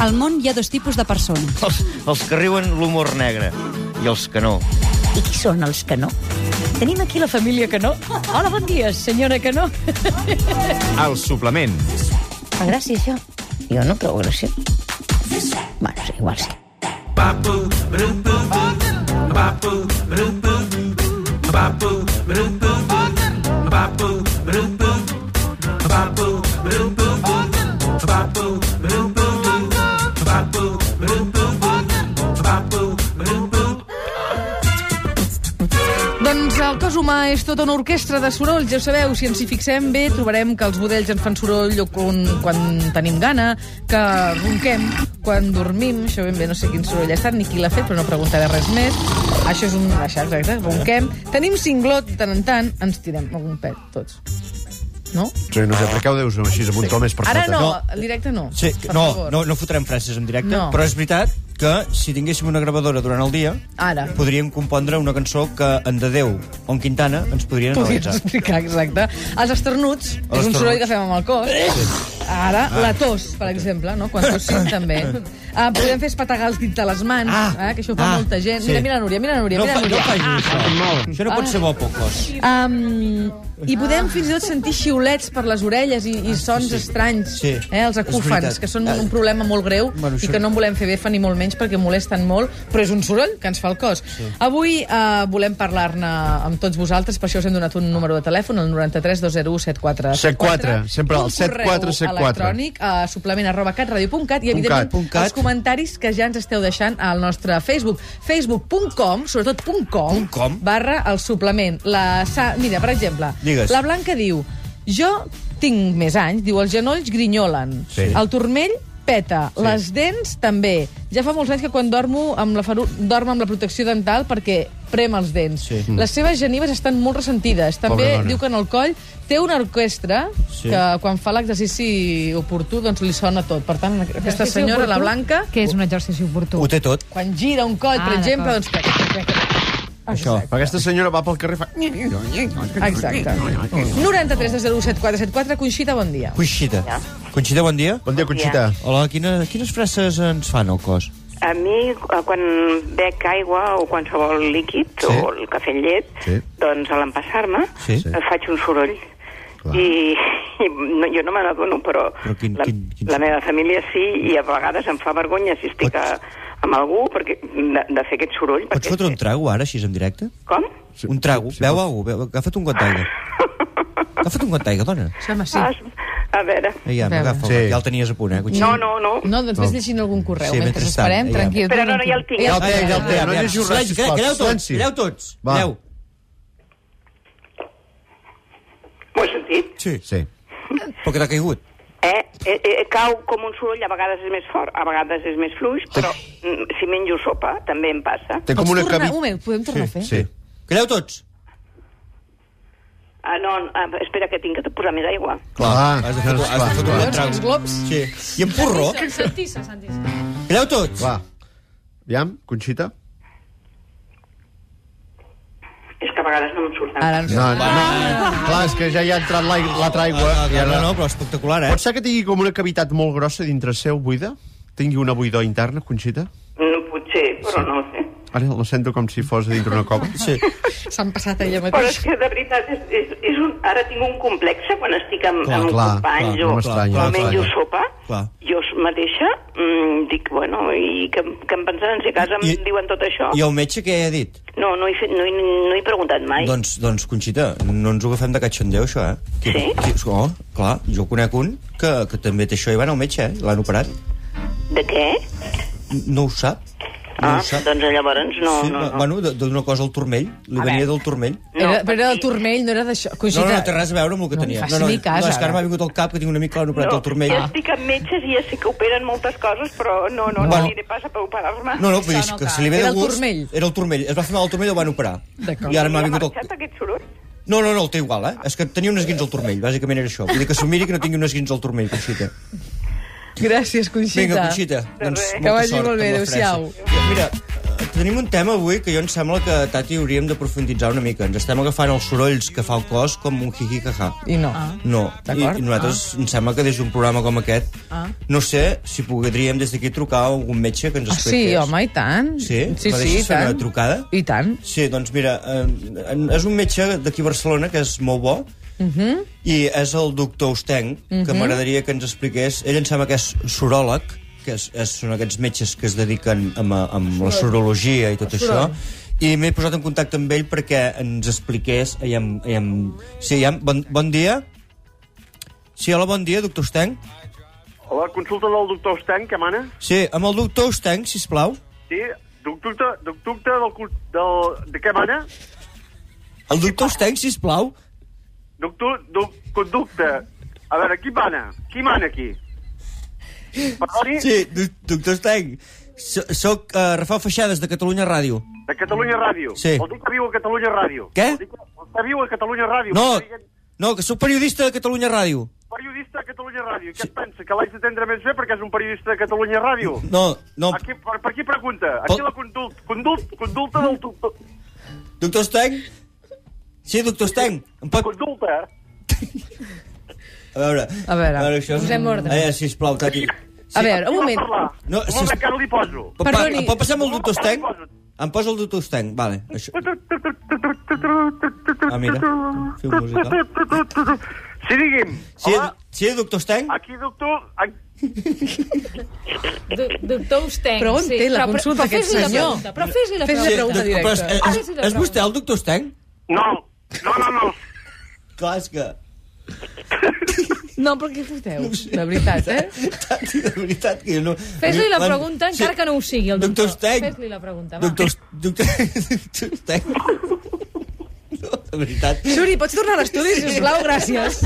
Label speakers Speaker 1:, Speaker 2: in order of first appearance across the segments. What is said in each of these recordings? Speaker 1: Al món hi ha dos tipus de persones.
Speaker 2: Els, els que riuen l'humor negre i els que no.
Speaker 3: I qui són els que no? Tenim aquí la família Canó. Hola, bon dia, senyora Canó.
Speaker 4: El suplement.
Speaker 3: Fa gràcia, això? Jo no trobo gràcia. Bueno, sí, igual sí.
Speaker 5: Doncs el cos humà és tota una orquestra de sorolls, ja ho sabeu. Si ens hi fixem bé, trobarem que els budells ens fan soroll o quan, quan tenim gana, que ronquem quan dormim, això ben bé no sé quin soroll ha estat ni qui l'ha fet, però no preguntaré res més. Això és un... Això, exacte, ronquem. Tenim cinglot, de tant en tant, ens tirem algun pet, tots. No?
Speaker 4: Sí, no sé, per què ho deus així amb un to més per
Speaker 5: Ara
Speaker 4: sota?
Speaker 5: no,
Speaker 6: No.
Speaker 5: en directe no.
Speaker 6: Sí,
Speaker 5: per
Speaker 6: no,
Speaker 5: favor.
Speaker 6: no, no fotrem frases en directe,
Speaker 5: No.
Speaker 6: però és veritat que si tinguéssim una gravadora durant el dia,
Speaker 5: Ara.
Speaker 6: podríem compondre una cançó que en Dedeu o en Quintana ens podrien
Speaker 5: Podries
Speaker 6: analitzar.
Speaker 5: explicar, exacte. Els esternuts, és un
Speaker 6: esternuts. Ah.
Speaker 5: soroll que fem amb el cos. Ara, la tos, per exemple, no? quan tossim també. Ah, podem fer espatagar els dits de les mans,
Speaker 6: Ah,
Speaker 5: eh, que això ho fa
Speaker 6: ah,
Speaker 5: molta gent.
Speaker 6: sí.
Speaker 5: Mira, mira la Núria, mira la Núria.
Speaker 6: No,
Speaker 5: mira
Speaker 6: fa,
Speaker 5: la
Speaker 6: no
Speaker 5: Núria.
Speaker 6: facis això. Això no pot ser bo, Pocos.
Speaker 5: Um, I podem fins i tot sentir xiulets per les orelles i, i sons
Speaker 6: Ah, sí.
Speaker 5: estranys,
Speaker 6: Sí.
Speaker 5: eh, els
Speaker 6: És
Speaker 5: acúfans,
Speaker 6: veritat.
Speaker 5: que són
Speaker 6: Ah.
Speaker 5: un problema molt greu
Speaker 6: Bueno,
Speaker 5: i
Speaker 6: això-
Speaker 5: que no en volem fer befa ni molt menys perquè molesten molt, però és un soroll que ens fa el cos. Avui eh, volem parlar-ne amb tots vosaltres, per això us hem donat un número de telèfon, el 93 201 7474.
Speaker 4: 74, sempre el
Speaker 5: Un correu
Speaker 4: 7474.
Speaker 5: electrònic a suplement arroba catradio.cat i, evidentment,
Speaker 6: Punt cat.
Speaker 5: els comentaris que ja ens esteu deixant al nostre Facebook. Facebook.com, sobretot punt .com,
Speaker 6: Punt com.
Speaker 5: barra el suplement. La Sa... Mira, per exemple,
Speaker 6: Digues.
Speaker 5: la Blanca diu... Jo tinc més anys, diu, els genolls grinyolen,
Speaker 4: Sí.
Speaker 5: el turmell peta, sí. les dents també. Ja fa molts anys que quan dormo amb la faru... dormo amb la protecció dental perquè prem els dents.
Speaker 6: Sí.
Speaker 5: Les seves genives estan molt ressentides. També
Speaker 4: dona.
Speaker 5: diu que en el coll té una orquestra
Speaker 6: Sí.
Speaker 5: que Eh, quan fa l'exercici oportú doncs li sona tot. Per tant, aquesta
Speaker 7: Exercici
Speaker 5: senyora, la
Speaker 7: oportú?
Speaker 5: Blanca,
Speaker 7: Que és un exercici oportú.
Speaker 6: Ho té tot.
Speaker 5: quan gira un coll, per
Speaker 7: Ah,
Speaker 5: exemple, doncs...
Speaker 7: d'acord.
Speaker 6: Això.
Speaker 4: Aquesta senyora va pel carrer i fa...
Speaker 5: Exacte. 93 de 07474, Conxita, bon dia.
Speaker 6: Conxita. Conxita, bon dia.
Speaker 4: Bon dia, Conxita.
Speaker 6: Hola, quina, quines frases ens fan al cos?
Speaker 8: A mi, eh, quan bec aigua o qualsevol líquid,
Speaker 6: Sí.
Speaker 8: sí. o el cafè amb llet,
Speaker 4: Sí.
Speaker 8: sí. doncs a l'empassar-me
Speaker 6: Sí.
Speaker 8: sí. faig un soroll.
Speaker 4: Clar.
Speaker 8: I, i no, jo no me n'adono, però,
Speaker 6: Però quin-
Speaker 8: la,
Speaker 6: quin- quin-
Speaker 8: la meva família sí, i a vegades em fa vergonya si estic a, amb algú perquè, de, de fer aquest soroll.
Speaker 6: Pots
Speaker 8: perquè,
Speaker 6: fotre un trago ara, així en directe?
Speaker 8: Com?
Speaker 6: Sí, un trago.
Speaker 4: sí,
Speaker 6: Sí, beu alguna cosa. Agafa't un got d'aigua. Agafa't un got d'aigua, dona.
Speaker 5: Sí, home, sí.
Speaker 8: Ah, a veure...
Speaker 6: Ja,
Speaker 5: Beu.
Speaker 6: agafa
Speaker 4: Sí.
Speaker 6: sí. Ja el tenies a punt, eh, Conxita?
Speaker 8: No, no, no.
Speaker 5: No, doncs vés llegint algun correu,
Speaker 6: Sí,
Speaker 5: sí, mentre
Speaker 6: mentrestant,
Speaker 5: esperem,
Speaker 6: ja.
Speaker 5: tranquil.
Speaker 8: Espera, no, no, ja el tinc.
Speaker 4: Ja el té, ja el té. No
Speaker 6: Aviam,
Speaker 4: llegiu res,
Speaker 6: silenci,
Speaker 4: sisplau.
Speaker 6: Calleu tots,
Speaker 4: Silenci.
Speaker 6: calleu tots.
Speaker 4: Va.
Speaker 6: Calleu.
Speaker 8: M'ho he sentit?
Speaker 6: Sí.
Speaker 4: Sí.
Speaker 6: Però que t'ha caigut.
Speaker 8: Eh, eh, eh, cau com un soroll, a vegades és més fort, a vegades és més fluix, però mm, si menjo sopa també em passa.
Speaker 4: Té com
Speaker 5: Pots
Speaker 4: una
Speaker 5: tornar-
Speaker 4: cavi...
Speaker 5: Un moment, podem tornar a fer?
Speaker 4: Sí.
Speaker 6: Calleu tots.
Speaker 8: Ah, no, ah, espera, que tinc que posar més aigua.
Speaker 4: Clar,
Speaker 6: Has de fotre, has de fotre un
Speaker 5: Veus
Speaker 6: got trago.
Speaker 5: els globs?
Speaker 6: Sí. I en porró.
Speaker 7: Santissa, Santissa.
Speaker 6: Calleu tots.
Speaker 4: clar. Aviam, Conxita.
Speaker 8: És que a vegades no em surt.
Speaker 5: Ara ens...
Speaker 4: No, no, no. Clar, és que ja hi ha entrat l'ai- l'altra aigua.
Speaker 6: Ah,
Speaker 4: i
Speaker 6: clar,
Speaker 4: ara-
Speaker 6: no, no, però espectacular, eh?
Speaker 4: Pot ser que tingui com una cavitat molt grossa dintre seu, buida? Tingui una buidor interna, Conxita?
Speaker 8: No, Mm, potser, però sí. no ho sé.
Speaker 4: Ara la sento com si fos dintre una cova.
Speaker 6: Sí.
Speaker 5: S'han passat ella
Speaker 8: Però és
Speaker 5: mateix.
Speaker 8: que de veritat, és, és, és un, ara tinc un complex quan estic amb,
Speaker 6: Clar,
Speaker 8: amb un
Speaker 4: clar,
Speaker 8: company
Speaker 4: clar, no
Speaker 8: o,
Speaker 4: m'estranya,
Speaker 8: o
Speaker 4: no
Speaker 8: menjo
Speaker 4: m'estranya.
Speaker 8: sopa,
Speaker 6: Clar.
Speaker 8: jo mateixa mm, dic, bueno, i que, que em pensaran si a casa em
Speaker 6: I-
Speaker 8: diuen tot això?
Speaker 6: I el metge què ha dit?
Speaker 8: No, no he, fet, no, he, no he preguntat mai.
Speaker 6: Doncs, doncs, Conxita, no ens ho agafem de catxondeu, això, eh?
Speaker 8: Sí?
Speaker 6: oh, clar, jo conec un que, que també té això i van al metge, eh? L'han operat.
Speaker 8: De què?
Speaker 6: No ho sap. No
Speaker 8: ah,
Speaker 6: ho sap.
Speaker 8: doncs llavors no,
Speaker 6: sí,
Speaker 8: no, no.
Speaker 6: Bueno, d- d'una cosa al turmell. Li venia del turmell.
Speaker 8: no,
Speaker 5: Era, però era del
Speaker 8: perquè-
Speaker 5: turmell, no era d'això.
Speaker 6: No,
Speaker 5: Conxita,
Speaker 6: no, no té res a veure amb el que
Speaker 5: No em
Speaker 6: tenia.
Speaker 5: facis
Speaker 6: no,
Speaker 5: ni cas,
Speaker 6: no, és que
Speaker 5: ara.
Speaker 6: ara m'ha vingut al cap que tinc un amic que l'han operat
Speaker 8: no, Ah.
Speaker 6: al turmell.
Speaker 8: Jo estic amb metges i ja sé que operen moltes coses, però no, no, no,
Speaker 6: Bueno.
Speaker 8: no aniré pas a operar-me.
Speaker 6: No, no, vull dir,
Speaker 7: Això no
Speaker 6: que
Speaker 7: cal.
Speaker 6: si li ve
Speaker 5: Era
Speaker 6: de
Speaker 5: el
Speaker 6: gust...
Speaker 5: turmell.
Speaker 6: Era el turmell. Es va fer mal al turmell i el van operar.
Speaker 5: D'acord.
Speaker 6: I ara m'ha
Speaker 8: Ha
Speaker 6: vingut el...
Speaker 8: marxat aquest soroll?
Speaker 6: No, no, no, el té igual, eh? És que tenia un esguins al turmell, bàsicament era això. Vull dir que s'ho miri que no tingui un esguins al turmell, Conxita.
Speaker 5: Gràcies, Conxita.
Speaker 6: Vinga, Conxita. Doncs,
Speaker 8: res.
Speaker 6: molta
Speaker 5: Que vagi
Speaker 6: sort
Speaker 5: molt bé,
Speaker 6: amb la fresa.
Speaker 5: adéu-siau.
Speaker 6: Mira, tenim un tema avui que jo em sembla que, Tati, hauríem de profunditzar una mica. Ens estem agafant els sorolls que fa el cos com un jijijajà.
Speaker 5: I no.
Speaker 6: No, i,
Speaker 5: D'acord.
Speaker 6: i nosaltres ah. em sembla que des d'un programa com aquest, ah. no sé si podríem des d'aquí trucar a algun metge que ens
Speaker 5: Ah, sí,
Speaker 6: expliqués.
Speaker 5: home, i tant.
Speaker 6: Sí?
Speaker 5: sí,
Speaker 6: Me
Speaker 5: sí
Speaker 6: deixes
Speaker 5: i
Speaker 6: fer
Speaker 5: tant.
Speaker 6: una trucada?
Speaker 5: I tant.
Speaker 6: Sí, doncs mira, eh, és un metge d'aquí a Barcelona que és molt bo, uh -huh. i és el doctor Osteng, uh -huh. que m'agradaria que ens expliqués. Ell em sembla que és soròleg, que és, és, són aquests metges que es dediquen amb, amb la sorologia i tot això, i m'he posat en contacte amb ell perquè ens expliqués... Aviam, aviam, sí, aviam, bon, bon dia. Sí, hola, bon dia, doctor Osteng.
Speaker 9: Hola, consulta del doctor Ostany, que mana?
Speaker 6: Sí, amb el doctor Osteng, sisplau.
Speaker 9: Sí, doctor, doctor del, cu- del, de què mana?
Speaker 6: El doctor Osteng, sisplau.
Speaker 9: Doctor, doc, conducte. A veure, qui mana? Qui mana aquí? Perdoni?
Speaker 6: Sí, do- doctor Steng, so- soc uh, Rafael Feixades, de Catalunya Ràdio.
Speaker 9: De Catalunya Ràdio.
Speaker 6: Sí.
Speaker 9: El dic que viu a Catalunya Ràdio.
Speaker 6: Què?
Speaker 9: El dic, vostè viu a Catalunya Ràdio.
Speaker 6: No,
Speaker 9: Vostè diguem,
Speaker 6: no, que sóc periodista de Catalunya Ràdio.
Speaker 9: Periodista de Catalunya Ràdio. Què es pensa? Que l'haig d'atendre més bé perquè és un periodista de Catalunya Ràdio?
Speaker 6: No, no,
Speaker 9: Aquí, per, per qui pregunta? Aquí
Speaker 6: Pel-
Speaker 9: la condult, condult, condulta del doctor...
Speaker 6: doctor Steng? Sí, doctor Steng, em pot...
Speaker 9: Condulta, eh?
Speaker 6: A veure,
Speaker 5: A veure,
Speaker 6: això és...
Speaker 5: posem ordre.
Speaker 6: A veure, sisplau, Tati. Sí,
Speaker 5: A veure, un
Speaker 9: Qui va
Speaker 5: moment.
Speaker 9: parlar?
Speaker 6: No,
Speaker 9: un
Speaker 6: si-
Speaker 9: moment, que ara li poso.
Speaker 6: Em pot, pa-
Speaker 5: perdoni.
Speaker 6: em pot passar amb el doctor Steng?
Speaker 9: Posa't.
Speaker 6: Em posa el doctor Steng, vale. Això... Ah, mira, feu música.
Speaker 9: Sí, digui'm.
Speaker 6: Sí,
Speaker 9: Hola,
Speaker 6: sí doctor Steng?
Speaker 9: aquí, doctor... Aquí...
Speaker 7: Doctor Ustenc,
Speaker 5: Però on té la
Speaker 7: Però-
Speaker 5: consulta
Speaker 7: però
Speaker 5: aquest
Speaker 7: fes-li la
Speaker 5: senyor?
Speaker 7: pregunta, Però fes-li la
Speaker 5: Fes-li
Speaker 7: pregunta.
Speaker 5: la
Speaker 6: Sí,
Speaker 5: pregunta
Speaker 6: doctor- però és, eh,
Speaker 5: directa. Ah,
Speaker 6: és, és, és vostè el doctor Steng?
Speaker 9: No, no, no, no.
Speaker 6: Clar, és que...
Speaker 5: No, però què foteu? De veritat, eh?
Speaker 6: Tati, de veritat que jo no...
Speaker 7: Fes-li la
Speaker 6: Quan-
Speaker 7: pregunta, encara que no ho sigui, el
Speaker 6: Doctor
Speaker 7: doctor.
Speaker 6: Steng.
Speaker 7: Fes-li la pregunta, va.
Speaker 6: Doctor... Doctor... Doctor Steng. No, de veritat.
Speaker 5: Xuri, pots tornar a l'estudi, sisplau? Gràcies.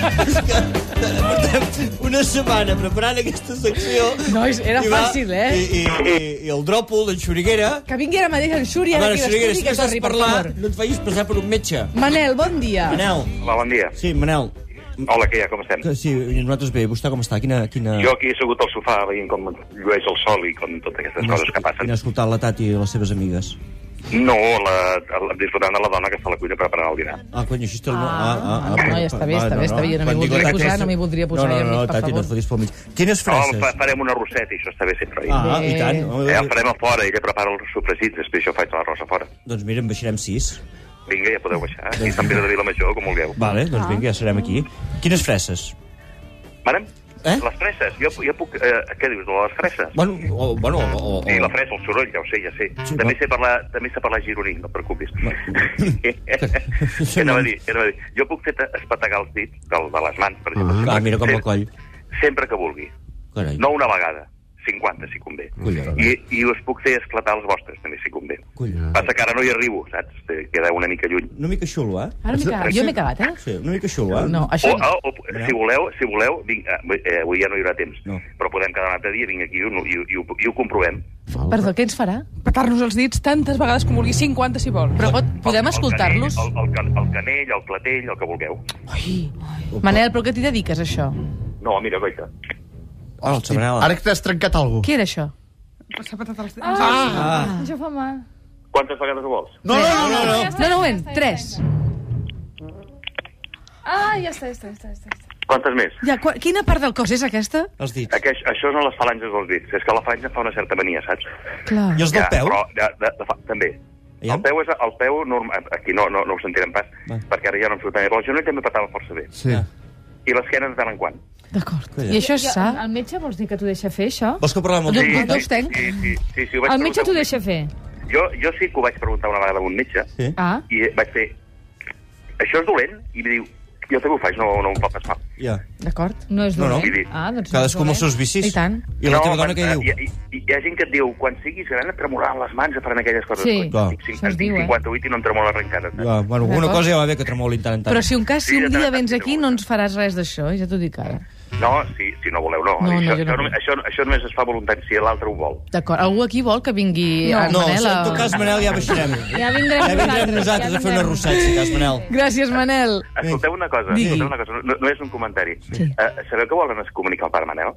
Speaker 6: Portem una setmana preparant aquesta secció.
Speaker 5: Nois, era
Speaker 6: i va-
Speaker 5: fàcil, eh?
Speaker 6: I, i, i, i el dròpol d'en Xuriguera...
Speaker 5: Que vingui ara mateix en Xuri,
Speaker 6: A
Speaker 5: ara
Speaker 6: veure,
Speaker 5: aquí a
Speaker 6: Xuriguera,
Speaker 5: l'estudi,
Speaker 6: si
Speaker 5: que
Speaker 6: no saps
Speaker 5: torni, per
Speaker 6: parlar,
Speaker 5: favor.
Speaker 6: no et facis passar per un metge.
Speaker 5: Manel, bon dia.
Speaker 6: Manel.
Speaker 9: Hola, bon dia.
Speaker 6: Sí, Manel.
Speaker 9: Hola, què hi ha? Com estem?
Speaker 6: Que sí, i nosaltres bé. Vostè com està? Quina... quina...
Speaker 9: Jo aquí he segut al sofà veient com llueix el sol i com totes aquestes
Speaker 6: quina-
Speaker 9: coses que passen.
Speaker 6: Quina escoltat la Tati i les seves amigues.
Speaker 9: No, la, la, disfrutant de la dona que està a la cuina preparant el dinar.
Speaker 6: Ah, cony, així està el... Ah, ah, ah,
Speaker 5: No, ja està bé, està bé, està bé, no m'hi
Speaker 6: Quan dic
Speaker 5: voldria
Speaker 6: la Tati-
Speaker 5: posar, no m'hi voldria posar,
Speaker 6: No,
Speaker 5: ja em
Speaker 6: no, no,
Speaker 5: dic, per
Speaker 6: Tati, no
Speaker 5: favor.
Speaker 6: et fotis pel mig. Quines
Speaker 9: Oh, fa,
Speaker 6: frases?
Speaker 9: farem una rosseta i això està bé sempre. Ah.
Speaker 6: Ah, i tant.
Speaker 9: Eh, el farem a fora, ella prepara els sofregits, després jo faig la rosa fora.
Speaker 6: Doncs mira, en baixarem sis.
Speaker 9: Vinga, ja podeu baixar. I Sant Pere de Vilamajor, com vulgueu.
Speaker 6: Vale, doncs vinga, ja serem aquí. Quines freses?
Speaker 9: Marem?
Speaker 6: Eh?
Speaker 9: Les freses, jo, jo puc... Eh, què dius, de les freses?
Speaker 6: Bueno, o, bueno, o, o,
Speaker 9: Sí, la fresa, el soroll, ja ho sé, ja sé.
Speaker 6: Sí,
Speaker 9: Sí, també,
Speaker 6: va.
Speaker 9: sé parlar, també sé parlar gironí, no et preocupis. què anava a dir? Què anava a dir? Jo puc fer espetegar els dits del, de les mans, per exemple.
Speaker 6: Ah, mira com el coll.
Speaker 9: Sempre que vulgui.
Speaker 6: Carai.
Speaker 9: No una vegada, 50, si convé.
Speaker 6: Collons.
Speaker 9: I, I us puc fer esclatar els vostres, també, si convé.
Speaker 6: Collons.
Speaker 9: Passa que ara no hi arribo, saps? Eh, Queda una mica lluny.
Speaker 6: Una mica xulo, eh?
Speaker 5: Ara m'he cagat, jo m'he cagat, eh?
Speaker 6: Sí, una mica xulo, eh?
Speaker 5: No,
Speaker 9: O, ah,
Speaker 5: això no.
Speaker 9: o, o, si voleu, si voleu vinc, eh, eh, avui ja no hi haurà temps,
Speaker 6: No.
Speaker 9: però podem quedar un altre dia, vinc aquí i, ho- i, ho- i, ho, i ho comprovem.
Speaker 5: Perdó, què ens farà?
Speaker 10: petar-nos els dits tantes vegades com vulgui, 50 si vol.
Speaker 5: Però pot, podem
Speaker 9: El- el
Speaker 5: escoltar-los?
Speaker 9: canell, El, el, can- el canell, el clatell, el que vulgueu.
Speaker 5: Manel, però què t'hi dediques, a això?
Speaker 9: No, mira, goita.
Speaker 6: Hosti, Manel.
Speaker 4: Ara que t'has trencat alguna
Speaker 5: Què era això?
Speaker 10: S'ha petat els dits.
Speaker 6: Ah.
Speaker 7: Això fa mal.
Speaker 9: Quantes vegades ho vols?
Speaker 4: No, no, no, no.
Speaker 5: No, no, moment, tres.
Speaker 7: Ah, ja està, ja està, ja està. Ja està.
Speaker 9: Quantes més?
Speaker 5: Ja, qua- quina part del cos és aquesta?
Speaker 6: Els dits.
Speaker 9: Aqueix, això són les falanges dels dits. És que la falange fa una certa mania, saps?
Speaker 5: Clar.
Speaker 6: I els del peu?
Speaker 9: Però, de, de, de, fa, també.
Speaker 6: Aviam.
Speaker 9: El peu és el peu normal. Aquí no, no, no ho sentirem pas,
Speaker 6: Va.
Speaker 9: perquè ara ja no em surt tan bé. Però el genoll també petava força bé.
Speaker 4: Sí.
Speaker 9: I l'esquena de tant en quant.
Speaker 5: D'acord. I això és sa?
Speaker 7: El metge vols dir que t'ho deixa fer, això?
Speaker 6: Vols que parlem amb
Speaker 7: Doncs
Speaker 6: el
Speaker 5: Sí.
Speaker 6: doctor?
Speaker 5: no us tenc.
Speaker 9: sí, sí, sí, sí, ho vaig
Speaker 7: El metge
Speaker 9: preguntar
Speaker 7: t'ho
Speaker 9: un-
Speaker 7: deixa fer.
Speaker 9: Jo, jo sí que ho vaig preguntar una vegada a un metge
Speaker 6: Sí.
Speaker 7: Ah,
Speaker 9: i vaig fer... Això és dolent? I em diu, jo també ho faig, no, no em pot passar.
Speaker 6: Ja.
Speaker 5: D'acord.
Speaker 7: no és
Speaker 6: No, no.
Speaker 7: dolent. Ah, doncs no és
Speaker 6: Cadascú amb els
Speaker 7: dolent.
Speaker 6: seus vicis.
Speaker 5: I tant.
Speaker 6: I la teva dona
Speaker 9: quan-
Speaker 6: què
Speaker 9: eh,
Speaker 6: diu?
Speaker 9: Hi, hi, hi, ha gent que et diu, quan siguis gran et tremolaran les mans a faran aquelles coses.
Speaker 7: Sí.
Speaker 9: Coi,
Speaker 6: Clar.
Speaker 9: Tinc,
Speaker 7: Això es
Speaker 9: cinc,
Speaker 7: diu, eh?
Speaker 9: tinc 58 i no em tremola res encara. saps?
Speaker 6: Ja, bueno, alguna
Speaker 5: D'acord.
Speaker 6: cosa ja va bé que tremolin tant en tant.
Speaker 5: Però si un cas, si
Speaker 9: Sí,
Speaker 5: un
Speaker 9: de
Speaker 5: dia
Speaker 9: tant en
Speaker 5: vens
Speaker 9: tant,
Speaker 5: aquí,
Speaker 9: sí,
Speaker 5: no ens faràs res d'això, eh? ja t'ho dic ara.
Speaker 9: No, si, si no voleu, no.
Speaker 5: No, no,
Speaker 9: això,
Speaker 5: jo no
Speaker 9: això,
Speaker 5: vull.
Speaker 9: només- això, això només es fa voluntat si l'altre ho vol.
Speaker 5: D'acord. Algú aquí vol que vingui en
Speaker 6: No,
Speaker 5: Manel?
Speaker 6: si en
Speaker 5: a-
Speaker 6: tot cas, Manel, ja baixarem.
Speaker 7: Ja vindrem
Speaker 6: Ja vindrem
Speaker 7: nosaltres,
Speaker 6: nosaltres
Speaker 7: ja
Speaker 6: a fer un
Speaker 7: vindrem.
Speaker 6: arrosset, si cas, Manel.
Speaker 5: Gràcies, Manel.
Speaker 9: Escolteu una cosa,
Speaker 6: Digui.
Speaker 9: Eh, escolteu una cosa no, no és un comentari. Sí. Uh, sabeu que volen es comunicar el pare Manel?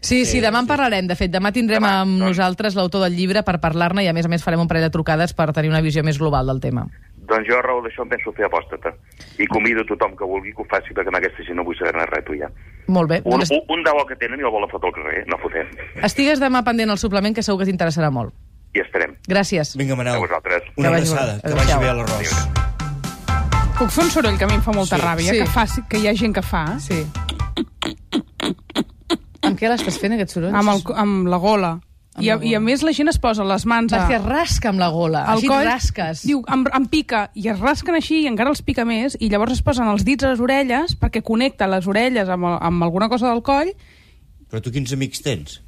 Speaker 5: Sí, sí, demà en parlarem. De fet, demà tindrem
Speaker 9: Demà,
Speaker 5: amb
Speaker 9: doncs.
Speaker 5: nosaltres l'autor del llibre per parlar-ne i, a més a més, farem un parell de trucades per tenir una visió més global del tema.
Speaker 9: Doncs jo a raó d'això em penso fer apòstata. I convido a tothom que vulgui que ho faci, perquè amb aquesta gent no vull saber-ne res, tu ja.
Speaker 5: Molt bé.
Speaker 9: Un,
Speaker 5: Doncs
Speaker 9: un, un debò que tenen i el volen fotre al carrer, eh? no fotem.
Speaker 5: estigues demà pendent al suplement, que segur que t'interessarà molt.
Speaker 9: I esperem.
Speaker 5: Gràcies.
Speaker 6: Vinga,
Speaker 9: A
Speaker 6: Manel,
Speaker 9: vosaltres.
Speaker 6: una
Speaker 5: Que vagi
Speaker 6: abraçada,
Speaker 5: bé.
Speaker 6: que vagi
Speaker 5: Adéu.
Speaker 6: bé l'arròs.
Speaker 10: Puc fer un soroll que a mi em fa molta
Speaker 6: Sí.
Speaker 10: ràbia,
Speaker 5: Sí.
Speaker 10: que, faci, que hi ha gent que fa, eh?
Speaker 5: Sí. Amb què l'estàs fent, aquest soroll?
Speaker 10: amb, el, amb la gola. I a, I a més la gent es posa les mans a,
Speaker 5: Perquè rasca amb la gola.
Speaker 10: al
Speaker 5: Així
Speaker 10: coll.
Speaker 5: rasques.
Speaker 10: Diu, em, em pica, i es rasquen així i encara els pica més, i llavors es posen els dits a les orelles perquè connecta les orelles amb, el, amb alguna cosa del coll.
Speaker 6: Però tu quins amics tens?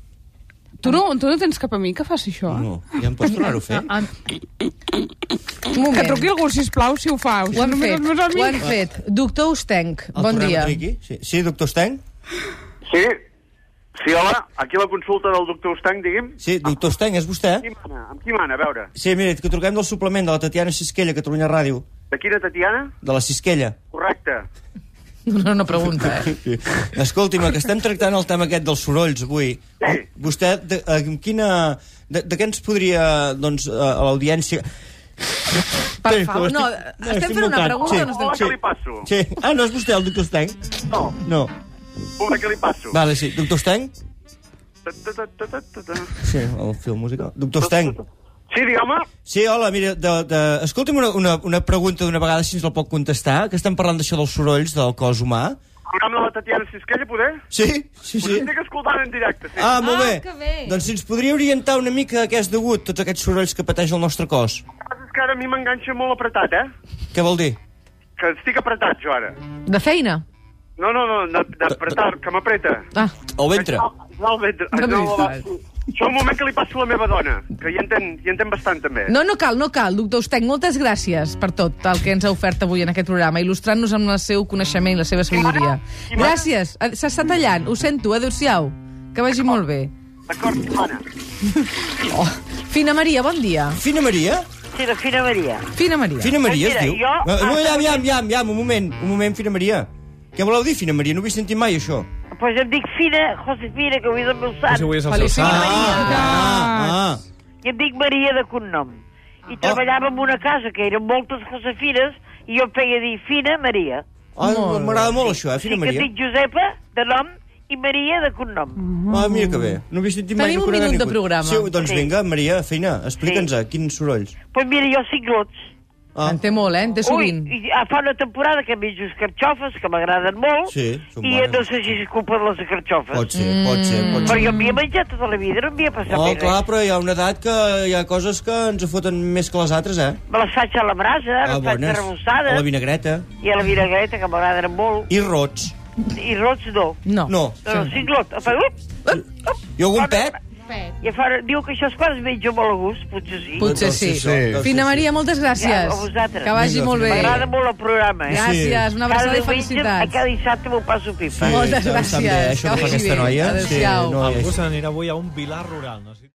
Speaker 10: Tu no, tu no tens cap amic que faci això? eh?
Speaker 6: No, ja em pots tornar-ho a fer?
Speaker 5: Eh? Un moment.
Speaker 10: Que truqui algú, sisplau, si ho fa.
Speaker 5: Ho han
Speaker 10: Només
Speaker 5: fet,
Speaker 10: els meus
Speaker 5: ho han
Speaker 10: amics.
Speaker 5: fet. Doctor Ustenc,
Speaker 6: El
Speaker 5: bon
Speaker 6: tornem a
Speaker 5: dia.
Speaker 6: tenir Aquí? Sí. sí, doctor Steng?
Speaker 9: Sí? Sí, hola, aquí la consulta del doctor Estanc, digui'm.
Speaker 6: Sí, doctor Steng, és vostè?
Speaker 9: Qui mana? Amb qui mana, a veure?
Speaker 6: Sí, mira, que truquem del suplement de la Tatiana Sisquella, Catalunya Ràdio,
Speaker 9: De quina Tatiana?
Speaker 6: de la Sisquella.
Speaker 9: Correcte.
Speaker 5: No, no pregunta, eh?
Speaker 6: Escolti'm, que estem tractant el tema aquest dels sorolls avui.
Speaker 9: Sí.
Speaker 6: Vostè, de, eh, amb quina... De, de què ens podria, doncs, a a l'audiència... Per
Speaker 5: favor. No, estem fent una pregunta o no
Speaker 9: Hola, que Oh, li passo.
Speaker 6: Sí. Ah, no és vostè el doctor Steng?
Speaker 9: No,
Speaker 6: No.
Speaker 9: hola, que li passo.
Speaker 6: Vale, sí. Doctor Steng?
Speaker 9: Ta, ta, ta, ta, ta, ta, ta.
Speaker 6: Sí, el film musical. Doctor Steng?
Speaker 9: Sí, digue'm.
Speaker 6: Sí, hola, mira, de, de... escolta'm una, una, una pregunta d'una vegada, si ens la pot contestar, que estem parlant d'això dels sorolls del cos humà.
Speaker 9: Programa de la Tatiana Sisquella, poder?
Speaker 6: Sí? Sí, sí.
Speaker 9: Estic escoltant en directe, sí.
Speaker 6: Ah, molt
Speaker 7: Ah,
Speaker 6: bé.
Speaker 7: que bé.
Speaker 6: Doncs si ens podria orientar una mica a què és degut tots aquests sorolls que pateix el nostre cos.
Speaker 9: El que passa és que ara a mi m'enganxa molt apretat, eh?
Speaker 6: Què vol dir?
Speaker 9: Que estic apretat, jo, ara.
Speaker 5: De feina?
Speaker 9: No, no, no, de- d'apretar, que m'apreta.
Speaker 5: Ah,
Speaker 6: El ventre.
Speaker 9: No, el ventre.
Speaker 5: No,
Speaker 9: No,
Speaker 5: no,
Speaker 9: la... Això un moment que li passo a la meva dona, que hi entén, hi entén bastant, també.
Speaker 5: no, no cal, no cal. Doctor Ustenc, moltes gràcies per tot el que ens ha ofert avui en aquest programa, il·lustrant-nos amb el seu coneixement i la seva sabidoria. Gràcies. Eh, S'està tallant, ho sento. Adéu-siau. Que vagi molt bé.
Speaker 9: D'acord, Mana.
Speaker 5: Oh. Fina Maria, bon dia.
Speaker 6: Fina Maria?
Speaker 8: Sí, la Fina Maria.
Speaker 5: Fina Maria.
Speaker 6: Fina Maria es
Speaker 8: mira,
Speaker 6: diu?
Speaker 8: jo-
Speaker 6: Eh, No, llam, llam, llam, llam, un moment, un moment, Fina Maria. Què voleu dir, Fina Maria? No ho he sentit mai, això.
Speaker 8: Doncs pues em dic Fina, Josefina, que avui és el meu sant.
Speaker 11: avui és el seu
Speaker 5: Felicitats.
Speaker 11: sant.
Speaker 6: ah, ah.
Speaker 8: I em dic Maria de cognom. I treballava en una casa que eren moltes Josefines i jo em feia dir Fina Maria.
Speaker 6: Ah, M'agrada molt això, eh, Fina
Speaker 8: I que
Speaker 6: Maria.
Speaker 8: em dic Josepa, de nom, i Maria de cognom.
Speaker 6: Ah, mira que bé. No ho havia sentit mai.
Speaker 5: Tenim
Speaker 6: no
Speaker 5: un
Speaker 6: conec
Speaker 5: minut de
Speaker 6: ningú.
Speaker 5: programa.
Speaker 6: Sí, doncs
Speaker 8: Sí.
Speaker 6: vinga, Maria, Fina, explica'ns quins sorolls.
Speaker 8: Doncs pues mira, jo cinc lots.
Speaker 6: Ah.
Speaker 5: En té molt, eh? En té sovint.
Speaker 8: Ui, i, ah, fa una temporada que menjo escarxofes, que m'agraden molt,
Speaker 6: Sí, són
Speaker 8: i
Speaker 6: bones.
Speaker 8: no sé si és culpa de les escarxofes.
Speaker 6: Pot ser, pot ser, pot ser.
Speaker 8: Però jo m'hi he menjat tota la vida, no m'hi he passat
Speaker 6: Oh,
Speaker 8: bé
Speaker 6: clar,
Speaker 8: res.
Speaker 6: però hi ha una edat que hi ha coses que ens foten més que les altres, eh?
Speaker 8: Me les faig a la brasa, les faig arrebossades,
Speaker 6: A la Ah, vinagreta.
Speaker 8: i a la vinagreta, que m'agraden molt,
Speaker 6: I rots.
Speaker 8: i rots no.
Speaker 5: No.
Speaker 6: No.
Speaker 8: No, no, cinglot. Fa, up,
Speaker 6: I algun pet?
Speaker 8: I fa, diu que això es fa, es menja molt a gust, potser sí.
Speaker 5: Potser
Speaker 6: Doncs
Speaker 5: sí. Fina Maria, moltes gràcies.
Speaker 8: Ja, a vosaltres.
Speaker 5: Que vagi
Speaker 6: Vinga,
Speaker 5: molt bé.
Speaker 8: M'agrada molt el programa, eh?
Speaker 5: Gràcies, una
Speaker 8: Cada
Speaker 5: abraçada i
Speaker 8: diumenge, a
Speaker 5: felicitats.
Speaker 8: cada dissabte m'ho passo pipa.
Speaker 5: Moltes
Speaker 6: em sap
Speaker 5: gràcies.
Speaker 6: bé, Això
Speaker 5: Que
Speaker 6: que fa
Speaker 5: vagi
Speaker 6: aquesta
Speaker 5: bé.
Speaker 6: noia.
Speaker 5: Adéu-siau.
Speaker 6: no,
Speaker 11: Algú
Speaker 6: és-
Speaker 11: se n'anirà avui a un vilar rural. No sé.